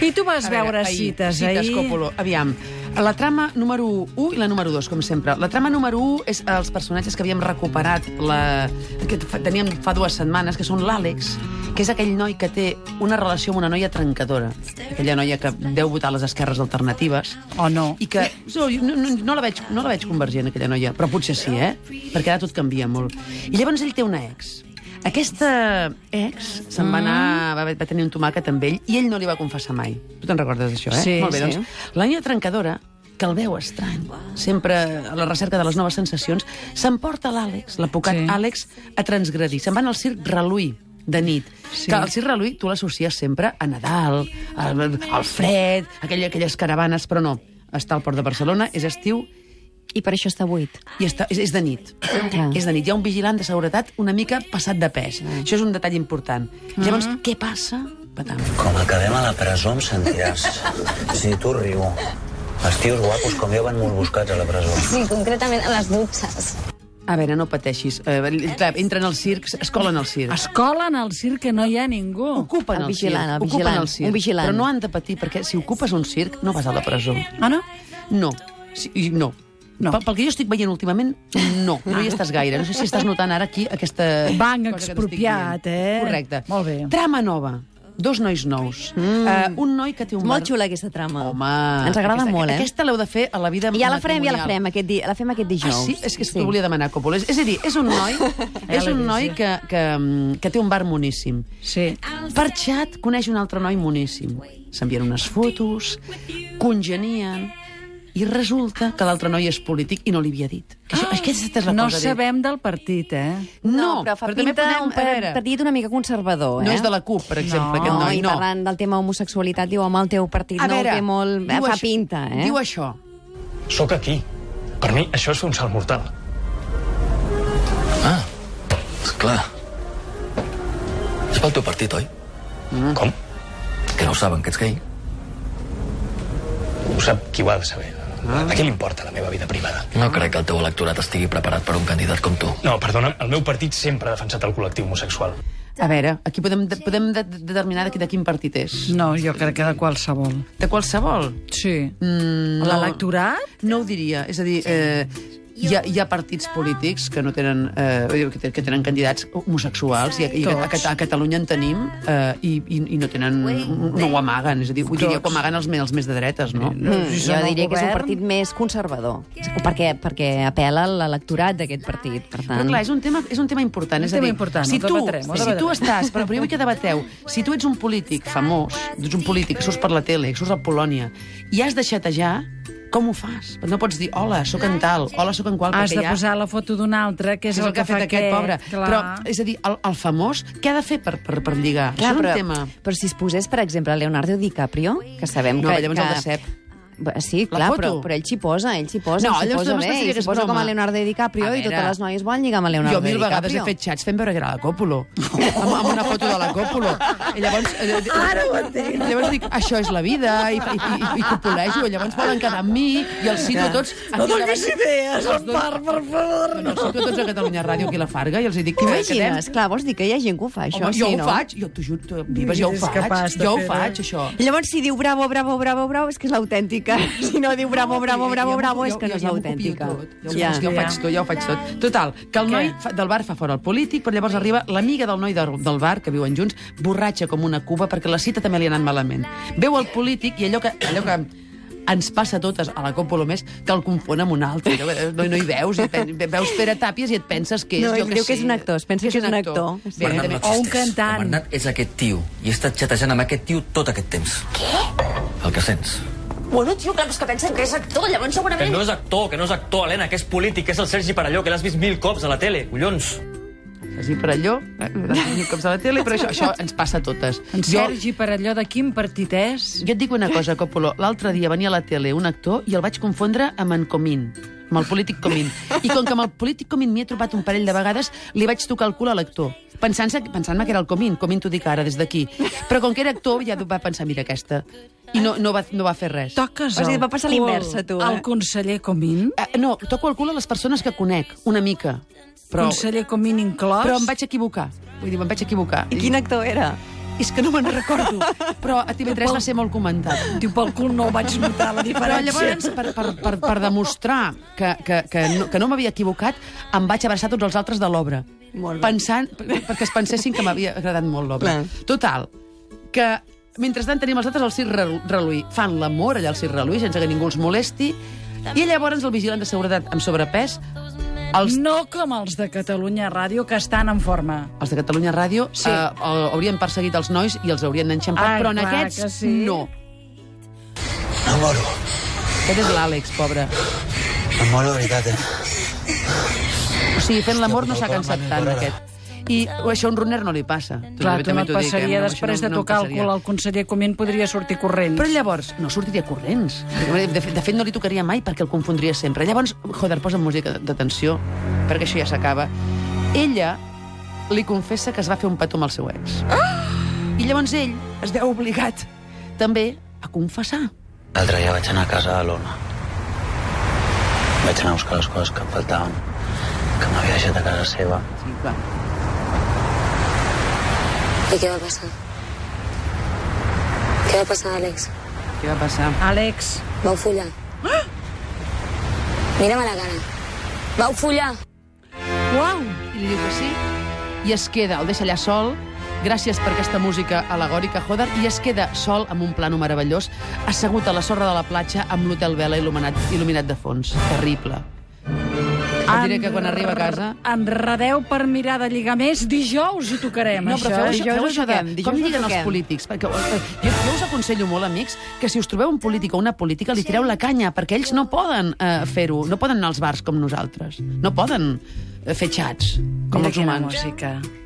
I tu vas A veure ahir, cites, cites ahir. Coppolo. Aviam, la trama número 1 i la número 2, com sempre. La trama número 1 és els personatges que havíem recuperat, la... que fa- teníem fa dues setmanes, que són l'Àlex, que és aquell noi que té una relació amb una noia trencadora. Aquella noia que deu votar a les esquerres alternatives. O no. I que no, no, no, no, la veig, no la veig convergent, aquella noia, però potser sí, eh? Perquè ara tot canvia molt. I llavors ell té una ex. Aquesta ex se'n va Mm. anar, va, va tenir un tomàquet amb ell, i ell no li va confessar mai. Tu te'n recordes d'això, eh? Sí, molt bé, sí. doncs. La noia trencadora, que el veu estrany, sempre a la recerca de les noves sensacions, s'emporta l'Àlex, l'apocat Sí. sí. Àlex, a transgredir. Se'n va al circ Reluí, de nit. Sí. Sí. Que el circ Reluí tu l'associes sempre a Nadal, al, al fred, aquell, aquelles caravanes, però no. Està al port de Barcelona, és estiu I per això està buit. i està, és, és de nit. Clar. És de nit. Hi ha un vigilant de seguretat una mica passat de pes. Això és un detall important. Llavors, què passa? Patam. Com acabem a la presó em sentiràs. Si tu riu. Els tios guapos com jo van molt buscats a la presó. Sí, concretament a les dutxes. A veure, no pateixis. Eh, clar, entren al circ, es colen al circ. Es colen al circ que no hi ha ningú. Ocupen El Ah, el, vigilant, el circ. vigilant, Ocupen el circ. un vigilant. Però no han de patir, perquè si ocupes un circ no vas a la presó. Ah, no? No. Sí, i no. No. Ah. No. Pel, pel que jo estic veient últimament, no. No hi estàs gaire. No sé si estàs notant ara aquí aquesta... Banc cosa que t'estic expropiat, dient. eh? Correcte. Molt bé. Trama nova. Dos nois nous. Mm. Uh, un noi que té un... És molt bar- xula aquesta trama. Home... Ens agrada aquesta, molt, eh? Aquesta l'heu de fer a la vida Ja la farem, ja la matrimonial. farem, aquest, di... la fem aquest dijous. Ah, sí? És que sí. volia demanar, Coppola. És, és a dir, és un noi, és un noi que, que, que té un bar moníssim. Sí. Per xat coneix un altre noi moníssim. S'envien unes fotos, congenien, i resulta que l'altre noi és polític i no li havia dit. Que això, aquesta és la No cosa de- sabem del partit, eh? No, però fa però també pinta podem- un a veure, par- partit una mica conservador, eh? No és de la CUP, per exemple, No, aquest noi. i No. parlant del tema homosexualitat, diu, home, el teu partit no ho té molt... diu Fa això- pinta, eh? Diu això. Sóc aquí. Per mi, això és fer un salt mortal. Ah, esclar. És pel teu partit, oi? Mm. Com? Que no ho saben, que ets gay. Ho sap qui ho ha de saber. A qui li importa la meva vida privada? No crec que el teu electorat estigui preparat per un candidat com tu. No, perdona, el meu partit sempre ha defensat el col·lectiu homosexual. A veure, aquí podem, de, podem de, de- determinar de, qui- de quin partit és. No, jo crec que de qualsevol. De qualsevol. Sí. Mm, L'electorat? No ho diria. És a dir, eh, hi, ha, hi ha partits polítics que no tenen, eh, que te- que tenen candidats homosexuals i, a, i a, Tots. Cata- a Catalunya en tenim eh, i, i, i no, tenen, no ho amaguen. És a dir, vull diria que ho amaguen els, me- els més de dretes, no? Mm, Si jo són al diria que és un govern- partit més conservador, perquè, perquè apel·la a l'electorat d'aquest partit. Per tant, Però clar, és un tema, és un tema important. és tema a dir, important, si ho tu, debatrem, ho si tu debatrem. estàs, però, però jo vull que debateu, si tu ets un polític famós, ets un polític, surts per la tele, surts a Polònia, i has de xatejar, com ho fas? No pots dir, hola, sóc en tal, hola, sóc en qual, Has de perquè ja... posar la foto d'un altre, que és, és el que ha fa fet aquest, pobre. Clar. Però, és a dir, el, el famós, què ha de fer per, per, per lligar? Clar, Això és però, un tema... però si es posés, per exemple, Leonardo DiCaprio, que sabem No, que... llavors que... el decep. Bé, Sí, La clar, foto. però, però ell s'hi posa, ell s'hi posa, No, s'hi llavors posa només bé, t'es i diré s'hi que és posa com broma. a Leonardo DiCaprio A i totes veure. les noies volen lligar amb el Jo Leonardo mil vegades he DiCaprio. fet xats fent veure que era la Còpolo. amb, amb una foto de la Còpolo. I llavors... Ah, Ara ho entenc. Llavors dic, això és la vida, i, i, i, i copulejo. Llavors volen quedar amb mi, i els cito a tots... No donis idees, en part, per favor. No, no, els cito a tots a Catalunya Ràdio, aquí a la Farga, i els hi dic... que quedem. T'imagines? Clar, vols dir que hi ha gent que ho fa, això? Home, jo sí, ho no? faig, jo t'ho juro, tu, Vives, jo ho És faig, capaç de jo ho fer-ho. eh? faig, això. Llavors, si diu bravo, bravo, bravo, bravo, és que és l'autèntica. Si no diu bravo, bravo, bravo, bravo, és que no és l'autèntica. Ja, Ja. ja, ja, ja, ja, ja, ja, ja, ho faig tot, ja ho faig tot. Total, que el noi fa- del bar fa fora el polític, però llavors arriba l'amiga del noi del, del bar, que viuen junts, borratxa com una cuba, perquè la cita també li ha anat malament. Veu el polític i allò que... Allò que ens passa a totes, a la Còpolo més, te'l confon amb un altre. No, no, no hi veus, i pen, veus Pere Tàpies i et penses que és... No, jo ell diu que és un actor, es pensa que és un actor. Bé, Sí. Bernat també- oh, o un existeix. cantant. El Bernat és aquest tio, i he estat xatejant amb aquest tio tot aquest temps. Què? El que sents. Bueno, tio, clar, però és que pensen que és actor, llavors Que segurament... no és actor, que no és actor, Helena, que és polític, que és el Sergi Parelló, que l'has vist mil cops a la tele, collons. Sergi Parelló, eh, mil cops a la tele, però això, això ens passa a totes. En Sergi Parelló, de quin partit és? Jo et dic una cosa, Coppolo. L'altre dia venia a la tele un actor i el vaig confondre amb en Comín amb el polític Comín. I com que amb el polític Comín m'hi he trobat un parell de vegades, li vaig tocar el cul a l'actor, pensant-me pensant que era el Comín. Comín t'ho dic ara, des d'aquí. Però com que era actor, ja va pensar, mira aquesta. I no, no, va, no va fer res. Toques O sigui, el va passar cul l'inversa, tu, eh? Al conseller Comín? Eh, no, toco el cul a les persones que conec, una mica. Però, Conseller Comín inclòs? però em vaig equivocar. Vull dir, em vaig equivocar. I quin actor era? és que no me'n recordo. Però a TV3 va ser molt comentat. Diu, pel cul no vaig notar la Però diferència. llavors, per, per, per, per demostrar que, que, que no, que no m'havia equivocat, em vaig abraçar tots els altres de l'obra. Molt bé. Pensant, per- perquè es pensessin que m'havia agradat molt l'obra. Clar. Total, que mentrestant tenim els altres al Circ Relu- Reluí. Fan l'amor allà al Circ Reluí, sense que ningú els molesti. I llavors el vigilant de seguretat amb sobrepès, els, No com els de Catalunya Ràdio, que estan en forma. els de Catalunya Ràdio, Sí. sí. eh, haurien perseguit els nois i els haurien enxampat, Ai, però en clar que aquests sí. no. Em moro. Aquest és l'Àlex, pobre. Em moro, de veritat, eh? O sigui, fent l'amor no Hòstia, s'ha puta, cansat home, tant, m'adora. aquest. I això a un runner no li passa. Clar, tu no també et t'ho dic, eh? passaria, No, això després no- de no em tocar el passaria. cul al conseller Comín, podria sortir corrents. Però llavors, no sortiria corrents. De, fet- de fet, no li tocaria mai perquè el confondria sempre. Llavors, joder, posa música de- d'atenció, perquè això ja s'acaba. Ella li confessa que es va fer un petó amb el seu ex. Ah! I llavors ell es veu obligat també a confessar. L'altre dia vaig anar a casa de l'Ona. Vaig anar a buscar les coses que em faltaven, que m'havia deixat a casa seva. Sí, clar. I què va passar? Què va passar, Àlex? Què va passar? Àlex, Vau follar? Ah! Mira'm a la cara. Vau follar? Uau! I li diu que sí, i es queda, el deixa allà sol, gràcies per aquesta música al·legòrica, joder, i es queda sol amb un plano meravellós, assegut a la sorra de la platja amb l'hotel Vela il·luminat, il·luminat de fons. Terrible. Et diré que quan arriba a casa... enredeu per mirar de lligar més. Dijous hi tocarem, No, això. eh? però feu això, dijous feu ho això de... toquem, dijous Com ho lliguen els toquem. polítics? Perquè, eh, jo, jo us aconsello molt, amics, que si us trobeu un polític o una política, li tireu la canya, perquè ells no poden eh, fer-ho, no poden anar als bars com nosaltres. No poden eh, fer xats, com Mira els quina humans. música.